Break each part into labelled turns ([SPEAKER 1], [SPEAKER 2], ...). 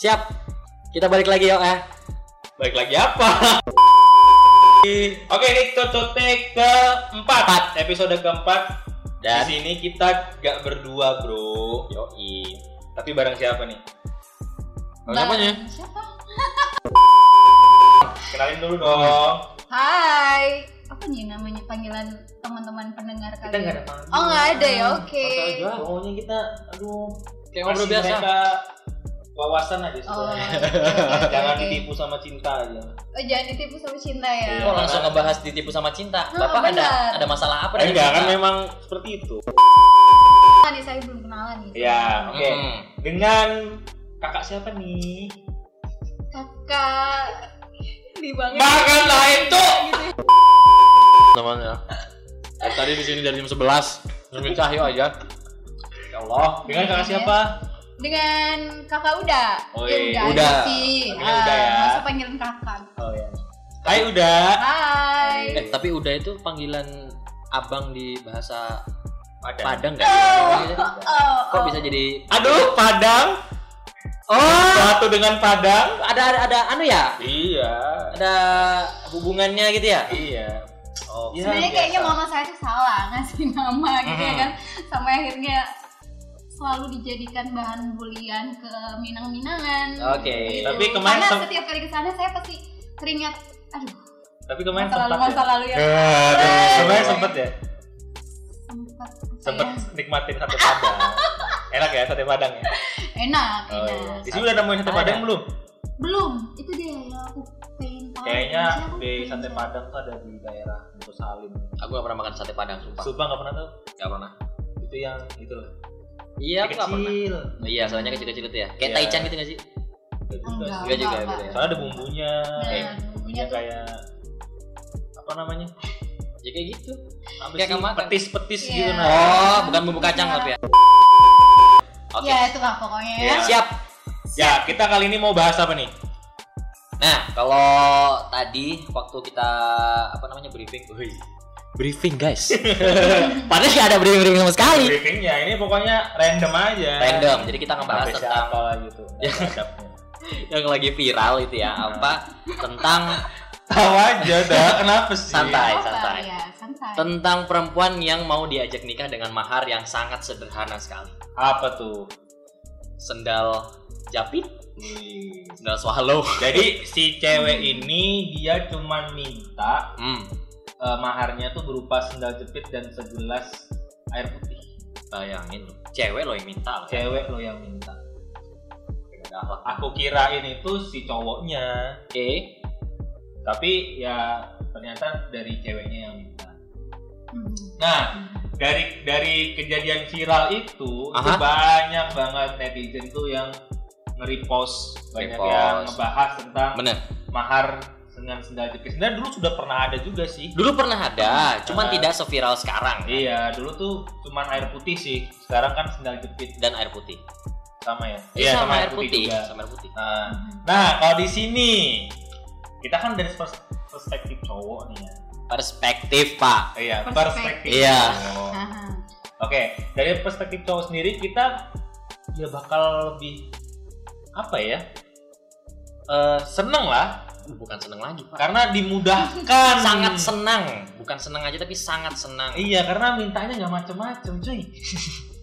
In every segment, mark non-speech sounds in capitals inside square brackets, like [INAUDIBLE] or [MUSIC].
[SPEAKER 1] Siap. Kita balik lagi yuk ah.
[SPEAKER 2] Balik lagi apa?
[SPEAKER 1] Di-
[SPEAKER 2] Oke, ini cocotnya keempat.
[SPEAKER 1] Empat.
[SPEAKER 2] Episode keempat.
[SPEAKER 1] Dan
[SPEAKER 2] Di sini kita gak berdua, bro. Yoi. Tapi bareng siapa nih?
[SPEAKER 3] Nah,
[SPEAKER 1] namanya?
[SPEAKER 4] Bang, Nah, Siapa?
[SPEAKER 2] Kenalin dulu dong.
[SPEAKER 4] Hai. Apa nih namanya panggilan teman-teman pendengar kalian? Oh nggak ada ya,
[SPEAKER 2] Hmm,
[SPEAKER 4] oke.
[SPEAKER 2] Iya, Pokoknya kita, aduh.
[SPEAKER 1] Kayak ngobrol
[SPEAKER 2] kasih
[SPEAKER 1] biasa.
[SPEAKER 2] mereka wawasan aja sih. [LAUGHS]
[SPEAKER 4] Oh, oke, oke,
[SPEAKER 2] Jangan
[SPEAKER 4] oke.
[SPEAKER 2] ditipu sama cinta aja.
[SPEAKER 4] Oh, jangan ditipu sama cinta ya.
[SPEAKER 2] Iya.
[SPEAKER 3] Kok langsung ngebahas ditipu sama cinta?
[SPEAKER 4] Nah,
[SPEAKER 2] Oh,
[SPEAKER 3] Bapak ada
[SPEAKER 4] benar.
[SPEAKER 3] ada masalah apa
[SPEAKER 2] enggak kan
[SPEAKER 3] cinta?
[SPEAKER 2] memang seperti itu.
[SPEAKER 4] Ah, nih saya belum kenalan nih.
[SPEAKER 2] Ya, oke.
[SPEAKER 1] Hmm.
[SPEAKER 3] Mm.
[SPEAKER 2] Dengan kakak siapa nih?
[SPEAKER 4] Kakak [LAUGHS]
[SPEAKER 2] Iya.
[SPEAKER 4] di banget.
[SPEAKER 2] Bahkan lah itu.
[SPEAKER 3] [LAUGHS]
[SPEAKER 1] namanya. Dari tadi di sini dari jam 11. Nungguin Cahyo aja.
[SPEAKER 2] Ya Allah. Dengan kakak siapa?
[SPEAKER 4] Dengan kakak udah.
[SPEAKER 2] Oh,
[SPEAKER 4] ya,
[SPEAKER 2] iya.
[SPEAKER 4] udah,
[SPEAKER 1] Udah.
[SPEAKER 4] aja sih.
[SPEAKER 2] Panggilnya udah ya.
[SPEAKER 4] Ah, Masa panggilan kakak.
[SPEAKER 2] Oh ya. Hai udah.
[SPEAKER 4] Hai.
[SPEAKER 3] Eh, tapi udah itu panggilan abang di bahasa
[SPEAKER 2] Ada.
[SPEAKER 1] Ya.
[SPEAKER 3] Padang
[SPEAKER 2] [LAUGHS]
[SPEAKER 3] nggak?
[SPEAKER 4] Oh,
[SPEAKER 3] Kok
[SPEAKER 4] oh.
[SPEAKER 3] bisa jadi
[SPEAKER 2] Aduh, Padang.
[SPEAKER 3] Oh,
[SPEAKER 2] Satu dengan Padang.
[SPEAKER 3] ada ada ada anu ya?
[SPEAKER 2] Iya.
[SPEAKER 3] Ada hubungannya gitu ya?
[SPEAKER 2] Iya. Oh, iya,
[SPEAKER 4] Sebenarnya
[SPEAKER 2] biasa.
[SPEAKER 4] kayaknya mama saya tuh salah ngasih nama gitu ya kan. Sampai akhirnya selalu dijadikan bahan bulian ke minang-minangan.
[SPEAKER 3] Oke.
[SPEAKER 4] Gitu.
[SPEAKER 2] Tapi kemarin
[SPEAKER 4] Karena
[SPEAKER 2] sem-
[SPEAKER 4] setiap kali ke sana saya pasti teringat aduh
[SPEAKER 2] Tapi kemarin
[SPEAKER 4] masa lalu
[SPEAKER 2] sempat.
[SPEAKER 4] masa
[SPEAKER 2] ya?
[SPEAKER 4] lalu yang
[SPEAKER 2] Aduh, Kemarin sempet ya.
[SPEAKER 4] sempat
[SPEAKER 2] Sempet
[SPEAKER 4] saya-
[SPEAKER 2] nikmatin sate Padang. Enak ya sate Padang ya.
[SPEAKER 4] enak
[SPEAKER 2] Oh,
[SPEAKER 4] enak.
[SPEAKER 2] iya. Di sini udah nemuin sate
[SPEAKER 3] Padang.
[SPEAKER 2] Padang belum?
[SPEAKER 4] Belum, itu dia yang aku pengen tahu.
[SPEAKER 2] Kayaknya
[SPEAKER 4] Maksudnya aku
[SPEAKER 2] di
[SPEAKER 4] pengen
[SPEAKER 2] sate
[SPEAKER 4] tahu.
[SPEAKER 2] Padang tuh ada di daerah Bukit Salim.
[SPEAKER 3] Aku gak pernah makan sate Padang, sumpah.
[SPEAKER 2] Sumpah nggak pernah tuh.
[SPEAKER 3] Gak pernah.
[SPEAKER 2] Itu yang itu lah.
[SPEAKER 3] Iya, aku gak pernah.
[SPEAKER 2] kecil.
[SPEAKER 3] Oh, Iya, soalnya kecil-kecil itu ya. Kayak
[SPEAKER 2] Iya.
[SPEAKER 3] taichan gitu gak sih?
[SPEAKER 4] Enggak,
[SPEAKER 3] Juga juga
[SPEAKER 4] enggak,
[SPEAKER 3] beda ya.
[SPEAKER 2] Soalnya ada bumbunya. Eh,
[SPEAKER 4] Nah, bumbunya
[SPEAKER 2] bumbunya
[SPEAKER 4] tuh
[SPEAKER 2] kayak apa namanya?
[SPEAKER 3] Ya kayak gitu.
[SPEAKER 2] Apa
[SPEAKER 3] Kayak kamu makan.
[SPEAKER 2] Petis-petis
[SPEAKER 4] Iya.
[SPEAKER 2] gitu nah.
[SPEAKER 3] Oh, bukan bumbu kacang tapi ya. Oke.
[SPEAKER 4] ya itulah pokoknya ya.
[SPEAKER 2] Iya.
[SPEAKER 3] Siap.
[SPEAKER 2] Ya, kita kali ini mau bahas apa nih?
[SPEAKER 3] Nah, kalau tadi waktu kita apa namanya briefing, wih, briefing guys.
[SPEAKER 2] [LAUGHS]
[SPEAKER 3] Padahal nggak ada briefing sama sekali.
[SPEAKER 2] Briefingnya ini pokoknya random aja.
[SPEAKER 3] Random. Jadi kita ngebahas
[SPEAKER 2] Sampai
[SPEAKER 3] tentang
[SPEAKER 2] siapa gitu.
[SPEAKER 3] Ya. yang lagi viral itu ya,
[SPEAKER 2] Hmm.
[SPEAKER 3] apa tentang
[SPEAKER 2] Tahu aja dah,
[SPEAKER 3] [LAUGHS]
[SPEAKER 2] kenapa sih?
[SPEAKER 3] Santai,
[SPEAKER 4] Apa?
[SPEAKER 3] santai.
[SPEAKER 4] Ya, santai.
[SPEAKER 3] tentang perempuan yang mau diajak nikah dengan mahar yang sangat sederhana sekali.
[SPEAKER 2] Apa tuh?
[SPEAKER 3] Sendal japit, sendal swallow.
[SPEAKER 2] Jadi si cewek ini dia cuman minta
[SPEAKER 3] [LAUGHS] Hmm.
[SPEAKER 2] eh, maharnya tuh berupa sendal jepit dan segelas air putih.
[SPEAKER 3] Bayangin loh, cewek lo yang minta loh. ya.
[SPEAKER 2] Cewek lo yang minta.
[SPEAKER 3] Nggak ada akhlak.
[SPEAKER 2] Aku kirain itu si cowoknya,
[SPEAKER 3] Oke.
[SPEAKER 2] tapi ya ternyata dari ceweknya yang minta.
[SPEAKER 4] Hmm.
[SPEAKER 2] Nah, dari dari kejadian viral itu, itu
[SPEAKER 3] Aha.
[SPEAKER 2] banyak banget netizen tuh yang nge-repost banyak
[SPEAKER 3] Repost.
[SPEAKER 2] yang ngebahas tentang
[SPEAKER 3] Bener.
[SPEAKER 2] mahar dengan sendal jepit. Sebenarnya dulu sudah pernah ada juga sih.
[SPEAKER 3] Dulu pernah ada, cuman
[SPEAKER 2] Ada.
[SPEAKER 3] tidak seviral sekarang.
[SPEAKER 2] Iya, dulu tuh cuman air putih sih. Sekarang kan sendal jepit
[SPEAKER 3] Dan air putih.
[SPEAKER 2] sama ya.
[SPEAKER 3] Iya, sama, air putih,
[SPEAKER 2] juga.
[SPEAKER 3] sama air putih.
[SPEAKER 2] Nah, nah, kalau di sini kita kan dari pers- perspektif cowok nih ya.
[SPEAKER 3] Perspektif, Pak.
[SPEAKER 2] Iya, perspektif.
[SPEAKER 4] Perspektif.
[SPEAKER 3] Iya.
[SPEAKER 2] cowok.
[SPEAKER 4] Aha.
[SPEAKER 2] Oke, dari perspektif cowok sendiri kita ya bakal lebih apa ya? Eh, seneng lah
[SPEAKER 3] Bukan seneng lagi, Pak.
[SPEAKER 2] karena
[SPEAKER 4] [LAUGHS]
[SPEAKER 2] dimudahkan.
[SPEAKER 3] Sangat senang, bukan seneng aja tapi sangat senang.
[SPEAKER 2] Iya, karena mintanya nggak macem-macem cuy. [LAUGHS]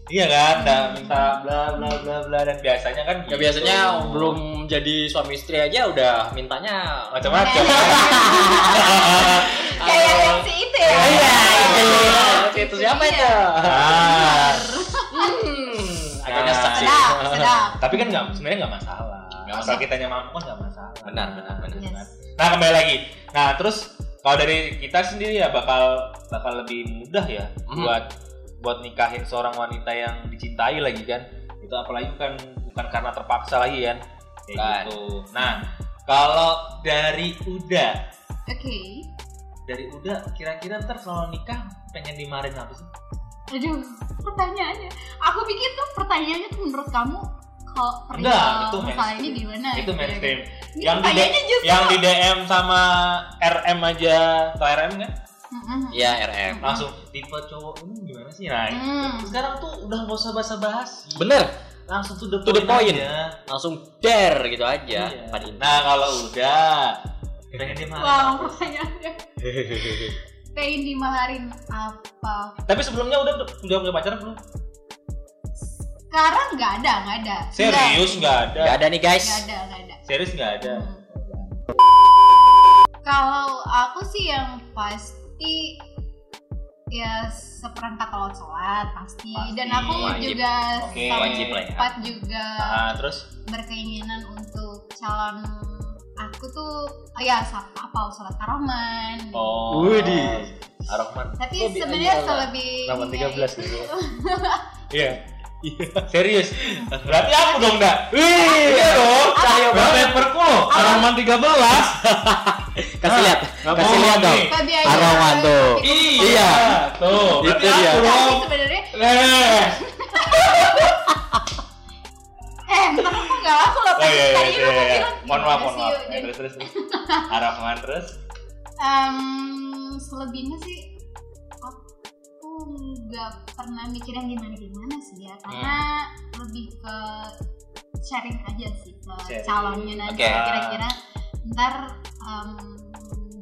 [SPEAKER 2] iya kan, nggak minta bla bla bla bla dan biasanya kan
[SPEAKER 3] Ya
[SPEAKER 2] gitu.
[SPEAKER 3] biasanya belum jadi suami istri aja udah mintanya [LAUGHS]
[SPEAKER 2] macem-macem.
[SPEAKER 4] Nah, iya,
[SPEAKER 2] [LAUGHS]
[SPEAKER 4] Kayak yang si itu ya. Iya.
[SPEAKER 3] Iya,
[SPEAKER 4] itu.
[SPEAKER 3] itu, itu siapa itu?
[SPEAKER 2] Nah,
[SPEAKER 3] Hmm, agaknya
[SPEAKER 2] Nah.
[SPEAKER 3] seksi.
[SPEAKER 4] Sedap, sedap.
[SPEAKER 2] tapi kan nggak sebenarnya nggak masalah.
[SPEAKER 3] Nggak
[SPEAKER 2] Asal kitanya mampu kan nggak masalah.
[SPEAKER 3] Benar, benar, benar.
[SPEAKER 2] Gitu kan.
[SPEAKER 4] Yes.
[SPEAKER 2] Nah kembali lagi. Nah terus kalau dari kita sendiri ya bakal bakal lebih mudah ya
[SPEAKER 3] Hmm.
[SPEAKER 2] buat buat nikahin seorang wanita yang dicintai lagi kan. Itu apalagi kan bukan karena terpaksa lagi kan. Kayak
[SPEAKER 3] Bukan.
[SPEAKER 2] gitu. Nah kalau dari Uda,
[SPEAKER 4] Oke.
[SPEAKER 2] dari Uda kira-kira ntar kalau nikah pengen dimarin apa sih?
[SPEAKER 4] Aduh, pertanyaannya. Aku pikir tuh pertanyaannya tuh menurut kamu kalau
[SPEAKER 2] Enggak,
[SPEAKER 4] perihal
[SPEAKER 2] itu
[SPEAKER 4] masalah
[SPEAKER 2] mainstream.
[SPEAKER 4] ini gimana?
[SPEAKER 2] Itu
[SPEAKER 4] gitu ya kan?
[SPEAKER 2] mainstream. Yang di-
[SPEAKER 4] Ini pertanyaannya justru.
[SPEAKER 2] Yang di DM sama RM aja, atau RM kan?
[SPEAKER 4] Mm-mm.
[SPEAKER 3] Iya, RM.
[SPEAKER 2] Langsung tipe cowok ini gimana sih? Nah,
[SPEAKER 4] Hmm.
[SPEAKER 2] sekarang tuh udah nggak usah basa-basi.
[SPEAKER 3] Bener,
[SPEAKER 2] langsung tuh the
[SPEAKER 3] To the point.
[SPEAKER 2] aja.
[SPEAKER 3] langsung der gitu aja
[SPEAKER 2] Iya.
[SPEAKER 3] Pan ini.
[SPEAKER 2] Nah kalau udah pengen
[SPEAKER 4] Wow,
[SPEAKER 2] dimarahin. [LAUGHS]
[SPEAKER 4] pertanyaannya. Pengen dimarahin apa?
[SPEAKER 2] Tapi sebelumnya udah udah punya pacar belum?
[SPEAKER 4] Sekarang nggak ada, nggak ada.
[SPEAKER 2] Serius nggak ada?
[SPEAKER 3] nggak ada nih
[SPEAKER 4] Nggak nggak
[SPEAKER 3] guys
[SPEAKER 4] ada, nggak ada.
[SPEAKER 2] Serius nggak ada?
[SPEAKER 4] Hmm. Kalau aku sih yang pasti ya seperangkat laut sholat pasti.
[SPEAKER 2] Pasti,
[SPEAKER 4] dan aku
[SPEAKER 3] wajib.
[SPEAKER 4] juga
[SPEAKER 2] Oke,
[SPEAKER 3] wajib lah ya.
[SPEAKER 4] sempat juga
[SPEAKER 2] Nah, terus
[SPEAKER 4] berkeinginan untuk calon aku tuh oh ya sa- apa sholat karaman
[SPEAKER 2] oh
[SPEAKER 3] Widih.
[SPEAKER 2] Arahman.
[SPEAKER 4] tapi
[SPEAKER 3] Lebih
[SPEAKER 4] sebenarnya ya.
[SPEAKER 3] aja lah.
[SPEAKER 4] selebih
[SPEAKER 2] Nomor
[SPEAKER 4] ininya
[SPEAKER 2] 13
[SPEAKER 4] itu- [LAUGHS]
[SPEAKER 2] gitu. Iya. Serius. Berarti aku dong, Dak. Iya dong.
[SPEAKER 3] Cahyo
[SPEAKER 2] Berapa
[SPEAKER 3] banget.
[SPEAKER 2] paperku lo? Arahman 13.
[SPEAKER 3] kasih lihat
[SPEAKER 2] Nggak
[SPEAKER 3] kasih
[SPEAKER 2] bohong
[SPEAKER 3] lihat dong
[SPEAKER 2] nih.
[SPEAKER 4] Fabi aja,
[SPEAKER 3] Arawan
[SPEAKER 4] Fabi
[SPEAKER 3] tuh.
[SPEAKER 4] ngomong.
[SPEAKER 3] Iya.
[SPEAKER 2] Tuh, berarti
[SPEAKER 3] Itu dia.
[SPEAKER 2] aku
[SPEAKER 4] tapi
[SPEAKER 2] dong.
[SPEAKER 4] sebenarnya
[SPEAKER 2] Eh.
[SPEAKER 4] eh ntar aku nggak aku loh
[SPEAKER 2] Oh iya iya
[SPEAKER 4] tadi
[SPEAKER 2] iya.
[SPEAKER 4] lu
[SPEAKER 2] iya.
[SPEAKER 4] bilang
[SPEAKER 2] Mohon maaf,
[SPEAKER 4] gimana
[SPEAKER 2] mohon
[SPEAKER 4] sih,
[SPEAKER 2] maaf.
[SPEAKER 4] yuk?
[SPEAKER 2] Eh,
[SPEAKER 4] Jadi,
[SPEAKER 2] Terus terus terus. Arahman terus.
[SPEAKER 4] em, selebihnya sih aku nggak pernah mikir yang gimana gimana sih ya karena lebih ke sharing aja sih ke
[SPEAKER 2] Sharing.
[SPEAKER 4] calonnya nanti
[SPEAKER 3] Oke.
[SPEAKER 4] kira-kira ntar em,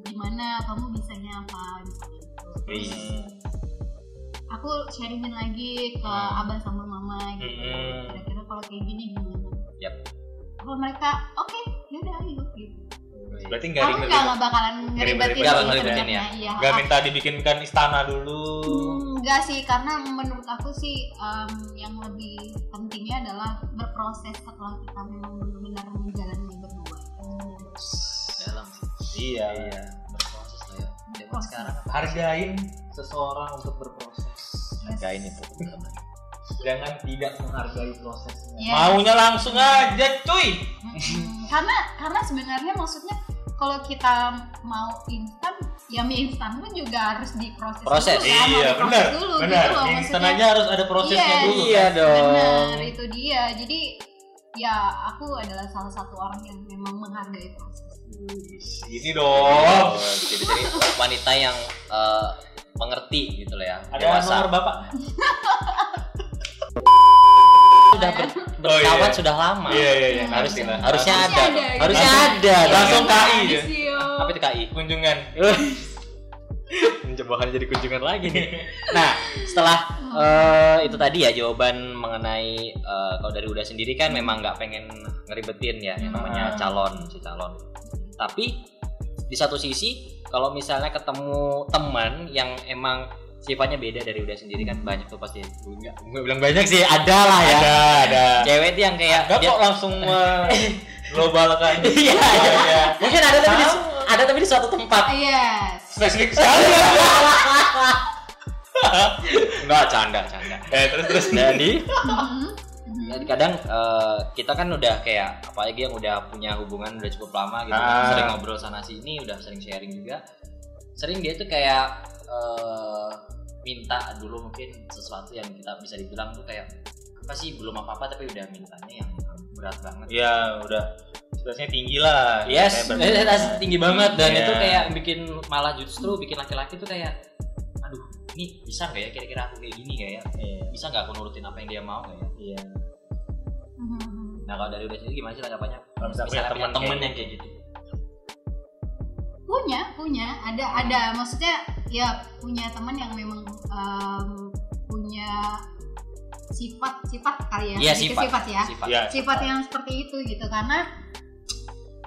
[SPEAKER 4] gimana kamu bisanya apa misalnya gitu. Terus
[SPEAKER 2] Iya.
[SPEAKER 4] aku sharingin lagi ke
[SPEAKER 2] Hmm.
[SPEAKER 4] abah sama mama gitu
[SPEAKER 2] Mm-mm.
[SPEAKER 4] kira-kira kalau kayak gini gimana
[SPEAKER 3] Yap.
[SPEAKER 4] kalau mereka oke yaudah ayo gitu
[SPEAKER 2] Berarti nggak
[SPEAKER 4] aku nggak
[SPEAKER 2] ribet.
[SPEAKER 4] nggak bakalan ngeribetin
[SPEAKER 3] Nggak
[SPEAKER 4] sih
[SPEAKER 3] bakal ngeribetin
[SPEAKER 4] sebenarnya, iya
[SPEAKER 2] Nggak
[SPEAKER 4] Ah,
[SPEAKER 2] minta dibikinkan istana dulu.
[SPEAKER 4] hmm, nggak sih karena menurut aku sih em, yang lebih pentingnya adalah berproses setelah kita memang benar-benar menjalani berdua
[SPEAKER 3] dalam
[SPEAKER 2] Iya.
[SPEAKER 3] iya berproses lah ya zaman
[SPEAKER 4] Berproses.
[SPEAKER 3] sekarang
[SPEAKER 2] Hargain seseorang untuk berproses.
[SPEAKER 3] harga ini tuh utama.
[SPEAKER 2] jangan tidak menghargai prosesnya.
[SPEAKER 4] Iya.
[SPEAKER 2] Maunya langsung aja, cuy.
[SPEAKER 4] Mm-mm. karena karena sebenarnya maksudnya kalau kita mau instan ya mie instan pun juga harus diproses
[SPEAKER 3] Proses.
[SPEAKER 4] dulu kan, harus diproses
[SPEAKER 2] benar,
[SPEAKER 4] dulu
[SPEAKER 2] benar.
[SPEAKER 4] gitu loh
[SPEAKER 2] Instan
[SPEAKER 4] maksudnya.
[SPEAKER 2] aja harus ada prosesnya
[SPEAKER 4] Iya,
[SPEAKER 2] dulu.
[SPEAKER 3] iya dong
[SPEAKER 4] benar itu dia jadi ya aku adalah salah satu orang yang memang menghargai proses
[SPEAKER 2] Gini dong.
[SPEAKER 3] jadi Oh, gitu. jadi wanita yang eh, mengerti gitu lah ya
[SPEAKER 2] Ada
[SPEAKER 3] dewasa
[SPEAKER 2] nomor bapak?
[SPEAKER 3] sudah ber-
[SPEAKER 2] Oh, iya.
[SPEAKER 3] berkawan sudah lama
[SPEAKER 2] iya
[SPEAKER 4] iya,
[SPEAKER 3] harusnya
[SPEAKER 2] harusnya
[SPEAKER 3] harusnya
[SPEAKER 4] Harusnya
[SPEAKER 3] ada
[SPEAKER 4] ada,
[SPEAKER 3] dong.
[SPEAKER 4] gitu. Iya,
[SPEAKER 3] harusnya
[SPEAKER 2] Langsung-
[SPEAKER 3] ada dong.
[SPEAKER 2] langsung KI ya.
[SPEAKER 4] Sio.
[SPEAKER 3] apa itu KI
[SPEAKER 2] [LAUGHS] kunjungan.
[SPEAKER 3] mencoba jadi kunjungan lagi nih nah setelah eh, itu tadi ya jawaban mengenai eh, kalau dari udah sendiri kan memang nggak pengen ngeribetin ya yang namanya
[SPEAKER 2] Ah.
[SPEAKER 3] calon si calon tapi di satu sisi kalau misalnya ketemu teman yang emang sifatnya beda dari udah sendiri kan banyak tuh pasti nggak nggak bilang banyak sih ada lah ya
[SPEAKER 2] [LAUGHS] Ada, ada.
[SPEAKER 3] cewek tuh yang kayak
[SPEAKER 2] Enggak
[SPEAKER 3] dia-
[SPEAKER 2] kok langsung Oh, globalkan.
[SPEAKER 3] [LAUGHS] Iya, iya. mungkin ada tapi di, ada tapi di suatu tempat [LAUGHS]
[SPEAKER 4] yes
[SPEAKER 2] Spesifik sekali.
[SPEAKER 3] nggak canda canda
[SPEAKER 2] Eh, terus terus.
[SPEAKER 3] jadi
[SPEAKER 4] Mhm.
[SPEAKER 3] Ya,
[SPEAKER 4] Mhm.
[SPEAKER 3] kadang eh, kita kan udah kayak apalagi yang udah punya hubungan udah cukup lama gitu
[SPEAKER 2] Ah.
[SPEAKER 3] sering ngobrol sana sini udah sering sharing juga sering dia tuh kayak eh, minta dulu mungkin sesuatu yang kita bisa dibilang tuh kayak apa sih belum apa apa tapi udah mintanya yang berat banget
[SPEAKER 2] Iya, udah. Stresnya tinggi lah.
[SPEAKER 3] yes [LAUGHS]
[SPEAKER 2] Kayak
[SPEAKER 3] eh,
[SPEAKER 2] berbeda.
[SPEAKER 3] tas- tinggi banget dan
[SPEAKER 2] Iya.
[SPEAKER 3] itu kayak bikin malah justru bikin laki-laki tuh kayak aduh ini bisa nggak ya kira-kira aku kayak gini nggak ya
[SPEAKER 2] Iya,
[SPEAKER 3] bisa nggak aku nurutin apa yang dia mau nggak ya
[SPEAKER 2] Iya.
[SPEAKER 4] Mhm.
[SPEAKER 3] Nah kalau dari udah sendiri gimana sih tanggapannya? Kalau
[SPEAKER 2] misalnya
[SPEAKER 3] misalnya
[SPEAKER 2] punya
[SPEAKER 3] punya
[SPEAKER 2] temen
[SPEAKER 3] temen
[SPEAKER 2] kayak
[SPEAKER 3] yang kayak gitu.
[SPEAKER 4] punya punya ada ada maksudnya ya punya teman yang memang em, punya sifat sifat kali ya
[SPEAKER 3] Iya,
[SPEAKER 4] Sedikit
[SPEAKER 3] sifat.
[SPEAKER 4] ya
[SPEAKER 3] Sifat.
[SPEAKER 2] Iya.
[SPEAKER 4] sifat yang seperti itu gitu karena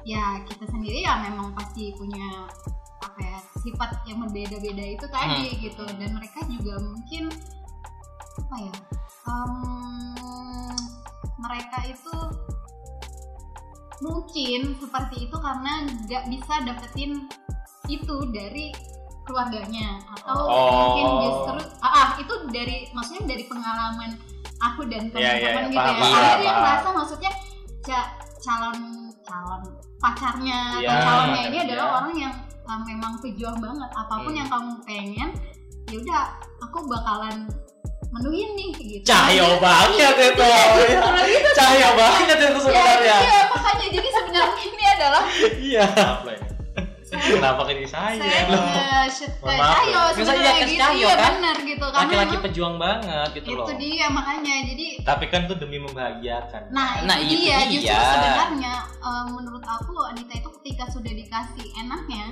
[SPEAKER 4] ya kita sendiri ya memang pasti punya apa ya sifat yang berbeda-beda itu tadi
[SPEAKER 3] Hmm.
[SPEAKER 4] gitu dan mereka juga mungkin apa ya em, mereka itu mungkin seperti itu karena nggak bisa dapetin itu dari keluarganya atau
[SPEAKER 2] Oh.
[SPEAKER 4] mungkin justru ah, ah, itu dari maksudnya dari pengalaman aku dan
[SPEAKER 2] Iya, iya, iya,
[SPEAKER 4] teman-teman gitu
[SPEAKER 2] paham,
[SPEAKER 4] ya
[SPEAKER 2] paham,
[SPEAKER 4] akhirnya
[SPEAKER 2] paham.
[SPEAKER 4] merasa maksudnya ca- calon calon pacarnya
[SPEAKER 2] Iya,
[SPEAKER 4] atau calonnya ini
[SPEAKER 2] iya.
[SPEAKER 4] adalah orang yang uh, memang pejuang banget apapun
[SPEAKER 3] Hmm.
[SPEAKER 4] yang kamu pengen ya udah aku bakalan menuhin nih gitu
[SPEAKER 3] Cahaya
[SPEAKER 4] Jadi-
[SPEAKER 3] banget itu.
[SPEAKER 4] Iya, kalau gitu.
[SPEAKER 3] Cahaya banget itu
[SPEAKER 4] iya, ya, iya makanya jadi sebenarnya ini adalah
[SPEAKER 3] Iya.
[SPEAKER 2] Maaf lah ini.
[SPEAKER 4] salah
[SPEAKER 2] Kenapa kan jadi
[SPEAKER 4] saya
[SPEAKER 2] saya?
[SPEAKER 4] juga shoot ke
[SPEAKER 2] Mohon maaf,
[SPEAKER 4] Cahyo
[SPEAKER 2] ya.
[SPEAKER 3] Masa
[SPEAKER 4] sebenarnya
[SPEAKER 3] iya ke
[SPEAKER 4] gitu
[SPEAKER 3] Cahyo,
[SPEAKER 4] ya
[SPEAKER 3] kan?
[SPEAKER 4] benar gitu karena
[SPEAKER 3] laki-laki
[SPEAKER 4] emang
[SPEAKER 3] pejuang banget gitu loh
[SPEAKER 4] itu dia makanya jadi
[SPEAKER 2] Tapi kan itu demi membahagiakan.
[SPEAKER 4] Nah,
[SPEAKER 3] Nah,
[SPEAKER 4] itu,
[SPEAKER 3] itu
[SPEAKER 4] dia,
[SPEAKER 3] dia.
[SPEAKER 4] justru sebenarnya eh, menurut aku wanita itu ketika sudah dikasih enaknya,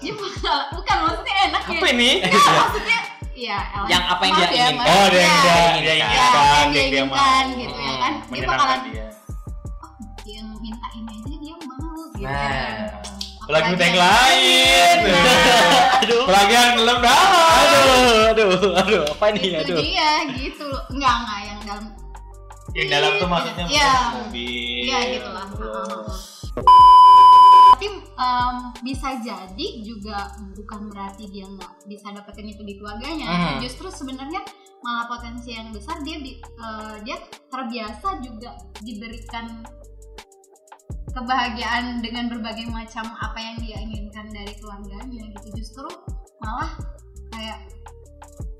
[SPEAKER 4] dia bakal bukan maksudnya enaknya.
[SPEAKER 2] Apa ini?
[SPEAKER 4] Nah, maksudnya ya elah.
[SPEAKER 3] ya? Yang apa yang
[SPEAKER 4] Maaf
[SPEAKER 3] dia
[SPEAKER 4] ya,
[SPEAKER 3] inginkan.
[SPEAKER 4] maaf
[SPEAKER 2] Oh, dia yang dia,
[SPEAKER 4] ya.
[SPEAKER 2] dia
[SPEAKER 3] Iya,
[SPEAKER 4] Ya,
[SPEAKER 2] inginkan,
[SPEAKER 4] yang dia
[SPEAKER 2] yang dia
[SPEAKER 4] inginkan
[SPEAKER 2] mau.
[SPEAKER 4] gitu ya
[SPEAKER 3] Hmm,
[SPEAKER 4] kan dia bakalan oh,
[SPEAKER 2] Menyenangkan dia.
[SPEAKER 4] yang minta ini aja dia mau gitu
[SPEAKER 3] Nah.
[SPEAKER 2] Apalagi minta yang lain. [LAUGHS]
[SPEAKER 4] Nah,
[SPEAKER 3] aduh
[SPEAKER 2] Pelagian dalam dalam.
[SPEAKER 3] Iya. aduh aduh aduh apa ini
[SPEAKER 4] itu
[SPEAKER 3] aduh
[SPEAKER 4] dia gitu loh enggak enggak yang dalam
[SPEAKER 2] Yang dalam tuh maksudnya
[SPEAKER 4] Iya.
[SPEAKER 2] bukan mobil.
[SPEAKER 4] Iya gitu lah.
[SPEAKER 2] Terus.
[SPEAKER 4] Tapi em, bisa jadi juga bukan berarti dia nggak bisa dapetin itu di keluarganya.
[SPEAKER 3] Hmm.
[SPEAKER 4] Justru sebenarnya malah potensi yang besar dia di- eh, dia terbiasa juga diberikan kebahagiaan dengan berbagai macam apa yang dia inginkan dari keluarganya gitu. Justru malah kayak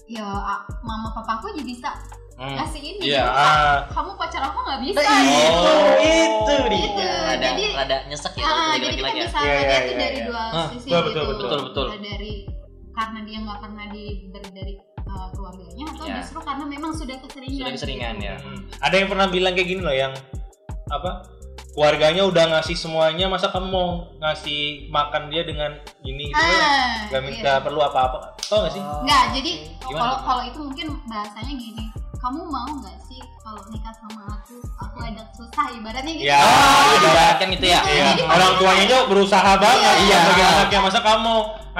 [SPEAKER 4] ya ah, mama papaku juga bisa
[SPEAKER 3] Hmm.
[SPEAKER 4] kasih ini
[SPEAKER 1] Iya,
[SPEAKER 2] Ya,
[SPEAKER 4] gitu, Pak.
[SPEAKER 1] ah,
[SPEAKER 4] kamu pacar aku nggak bisa
[SPEAKER 3] Nah,
[SPEAKER 4] gitu.
[SPEAKER 3] itu, itu dia
[SPEAKER 4] Itu,
[SPEAKER 3] rada
[SPEAKER 4] Gitu. jadi-
[SPEAKER 3] rada nyesek ya
[SPEAKER 4] Ah,
[SPEAKER 3] itu
[SPEAKER 4] jadi kita
[SPEAKER 3] lagi-lagi ya
[SPEAKER 4] bisa
[SPEAKER 2] Iya, iya,
[SPEAKER 4] melihat itu
[SPEAKER 2] iya,
[SPEAKER 4] dari
[SPEAKER 2] iya.
[SPEAKER 4] dua
[SPEAKER 3] Ah,
[SPEAKER 4] sisi
[SPEAKER 2] betul,
[SPEAKER 4] gitu.
[SPEAKER 2] betul, betul,
[SPEAKER 3] betul, betul.
[SPEAKER 4] Entah dari karena dia nggak pernah diberi dari uh, keluarganya atau
[SPEAKER 3] Iya.
[SPEAKER 4] justru karena memang sudah keseringan.
[SPEAKER 3] sudah keseringan ya
[SPEAKER 2] Hmm. Ada yang pernah bilang kayak gini loh yang apa? Keluarganya udah ngasih semuanya, masa kamu mau ngasih makan dia dengan ini gitu?
[SPEAKER 4] Ah,
[SPEAKER 2] gak minta
[SPEAKER 4] iya.
[SPEAKER 2] perlu apa-apa, tau gak sih?
[SPEAKER 4] Nggak, jadi
[SPEAKER 3] Gimana?
[SPEAKER 4] kalau kalau itu mungkin bahasanya gini. Kamu mau nggak sih kalau nikah sama aku? Aku agak susah ibaratnya gitu.
[SPEAKER 2] Ya,
[SPEAKER 3] Ah,
[SPEAKER 2] iya.
[SPEAKER 3] kan gitu ya
[SPEAKER 4] Iya. Jadi
[SPEAKER 2] orang
[SPEAKER 4] makanya-
[SPEAKER 2] tuanya juga berusaha banget
[SPEAKER 3] Iya.
[SPEAKER 2] sebagai anaknya masa kamu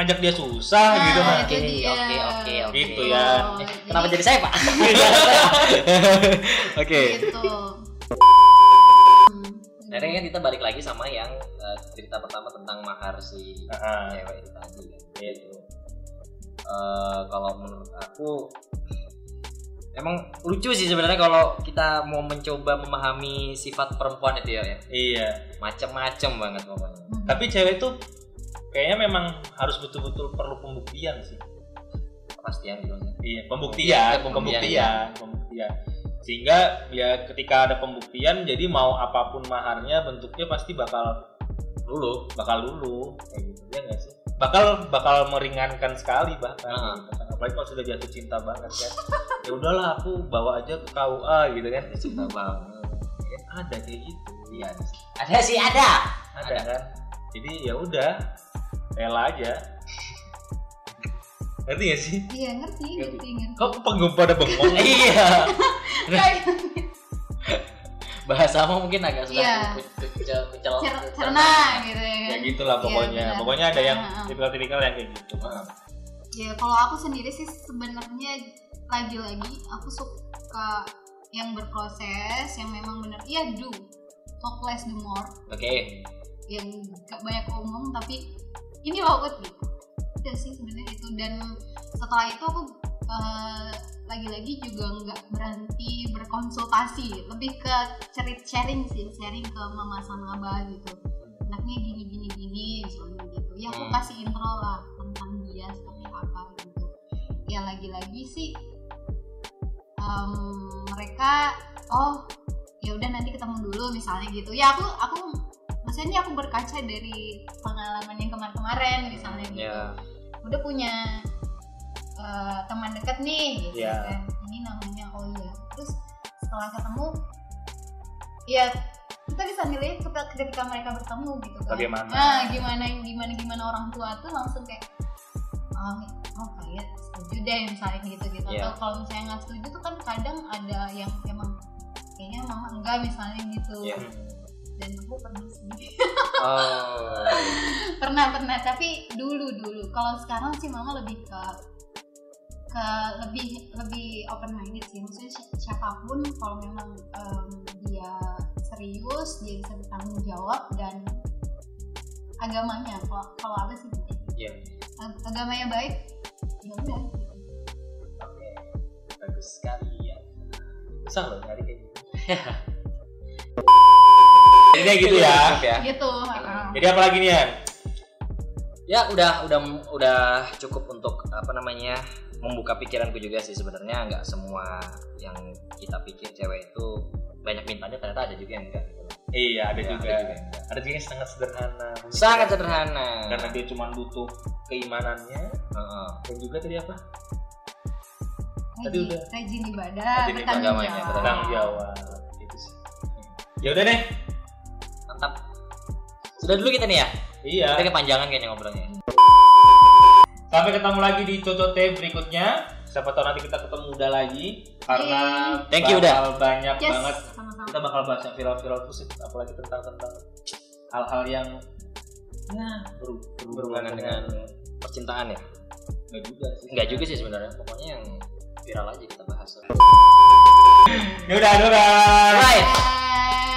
[SPEAKER 2] ajak dia susah
[SPEAKER 4] Nah,
[SPEAKER 2] gitu [LAUGHS] mah.
[SPEAKER 4] itu dia.
[SPEAKER 3] oke oke oke
[SPEAKER 2] Gitu ya.
[SPEAKER 3] Eh, kenapa jadi saya pak Iya. oke
[SPEAKER 4] Gitu. Hmm.
[SPEAKER 3] akhirnya kan kita balik lagi sama yang eh, cerita pertama tentang mahar
[SPEAKER 4] Iya.
[SPEAKER 3] si
[SPEAKER 2] Heeh.
[SPEAKER 3] cewek itu tadi kan itu Eh, kalau menurut aku emang lucu sih sebenarnya kalau kita mau mencoba memahami sifat perempuan itu ya, ya.
[SPEAKER 2] Iya.
[SPEAKER 3] macem-macem banget pokoknya
[SPEAKER 4] Hmm.
[SPEAKER 2] Tapi cewek tuh kayaknya memang harus betul-betul perlu pembuktian sih.
[SPEAKER 3] kepastian gitu
[SPEAKER 2] Iya, pembuktian,
[SPEAKER 3] Pembuktian, iya.
[SPEAKER 2] pembuktian, pembuktian. Sehingga ya ketika ada pembuktian jadi mau apapun maharnya bentuknya pasti bakal
[SPEAKER 3] dulu
[SPEAKER 2] bakal lulu kayak gitu ya nggak sih? Bakal bakal meringankan sekali bahkan
[SPEAKER 3] Nah.
[SPEAKER 2] gitu kan. Apalagi kalau sudah jatuh cinta banget kan. ya udahlah aku bawa aja ke KUA gitu kan.
[SPEAKER 3] cinta banget
[SPEAKER 2] Ya, ada kayak gitu.
[SPEAKER 3] iya ada sih ada [LAUGHS]
[SPEAKER 2] ada, kan jadi ya udah rela aja ngerti gak sih
[SPEAKER 4] Iya ngerti, ngerti, ngerti.
[SPEAKER 2] kok penggemar pada bengong
[SPEAKER 3] iya
[SPEAKER 4] Kayak
[SPEAKER 3] bahasamu mungkin agak sudah
[SPEAKER 4] Iya.
[SPEAKER 3] kecil kecil
[SPEAKER 4] cer- cerna gitu ya
[SPEAKER 2] ya
[SPEAKER 4] kan.
[SPEAKER 2] gitulah
[SPEAKER 4] Iya,
[SPEAKER 2] pokoknya
[SPEAKER 4] benar.
[SPEAKER 2] pokoknya ada yang
[SPEAKER 4] Heeh.
[SPEAKER 2] tipikal-tipikal yang kayak gitu
[SPEAKER 4] ya kalau aku sendiri sih sebenarnya lagi-lagi aku suka yang berproses yang memang benar iya do talk less do more
[SPEAKER 3] oke
[SPEAKER 4] yang gak banyak omong tapi ini loh Ut, gitu udah sih sebenarnya itu dan setelah itu aku eh, lagi-lagi juga nggak berhenti berkonsultasi lebih ke cerit sharing sih sharing ke mama sama abah gitu anaknya gini gini gini misalnya gitu ya aku
[SPEAKER 3] Hmm.
[SPEAKER 4] kasih intro lah tentang dia seperti apa gitu ya lagi-lagi sih em, mereka oh ya udah nanti ketemu dulu misalnya gitu ya aku aku maksudnya ini aku berkaca dari pengalaman yang kemarin-kemarin misalnya gitu
[SPEAKER 3] ya
[SPEAKER 4] [LAUGHS] udah punya eh, teman dekat nih gitu
[SPEAKER 2] Iya.
[SPEAKER 4] kan ini namanya oh iya terus setelah ketemu ya kita bisa nilai ketika ketika mereka bertemu gitu kan
[SPEAKER 2] Bagaimana?
[SPEAKER 4] nah gimana gimana gimana orang tua tuh langsung kayak oh, oh kayak setuju deh misalnya gitu gitu
[SPEAKER 3] Iya.
[SPEAKER 4] atau kalau misalnya nggak setuju tuh kan kadang ada yang emang kayaknya mama enggak misalnya gitu
[SPEAKER 3] Iya.
[SPEAKER 4] dan aku pernah sih
[SPEAKER 3] oh
[SPEAKER 4] [LAUGHS] pernah pernah tapi dulu dulu kalau sekarang sih mama lebih ke ke lebih lebih open minded sih maksudnya si- siapapun kalau memang em, dia serius dia bisa bertanggung jawab dan agamanya kalau kalau apa sih gitu.
[SPEAKER 3] Iya.
[SPEAKER 4] Ag- agamanya baik ya udah
[SPEAKER 3] oke bagus sekali ya
[SPEAKER 2] susah loh nyari kayak gitu jadi kayak gitu ya
[SPEAKER 3] ya
[SPEAKER 4] gitu heeh.
[SPEAKER 2] jadi apalagi nih Yan
[SPEAKER 3] ya udah udah udah cukup untuk apa namanya membuka pikiranku juga sih sebenarnya nggak semua yang kita pikir cewek itu banyak mintanya ternyata ada juga yang enggak gitu.
[SPEAKER 2] Iya, ada
[SPEAKER 3] Ya,
[SPEAKER 2] juga.
[SPEAKER 3] ada yang enggak.
[SPEAKER 2] Ada juga yang sangat sederhana.
[SPEAKER 3] sangat sederhana
[SPEAKER 2] Karena dia cuma butuh keimanannya
[SPEAKER 3] Heeh.
[SPEAKER 2] dan juga tadi apa? Tadi
[SPEAKER 4] rajin,
[SPEAKER 2] udah.
[SPEAKER 4] rajin ibadah,
[SPEAKER 2] Rajin
[SPEAKER 4] bertanggung
[SPEAKER 3] ibadah, ya,
[SPEAKER 4] jawab.
[SPEAKER 2] Tanggung jawab. Gitu sih. Ya udah deh.
[SPEAKER 3] mantap sudah dulu kita nih ya
[SPEAKER 2] Iya.
[SPEAKER 3] kita kepanjangan kayaknya ngobrolnya
[SPEAKER 2] Sampai ketemu lagi di Cocote berikutnya. Siapa tahu nanti kita ketemu udah lagi karena
[SPEAKER 3] Thank you,
[SPEAKER 2] bakal banyak
[SPEAKER 4] Iya. Yes,
[SPEAKER 2] banget
[SPEAKER 4] sama-sama.
[SPEAKER 2] kita bakal bahas yang viral-viral terus apalagi tentang tentang hal-hal yang nah beru- berhubungan
[SPEAKER 3] Berhubungan
[SPEAKER 2] dengan
[SPEAKER 3] percintaan ya
[SPEAKER 2] enggak juga sih.
[SPEAKER 3] enggak juga sih sebenarnya pokoknya yang viral aja kita bahas
[SPEAKER 2] Ya udah, udah.
[SPEAKER 3] right
[SPEAKER 4] Bye.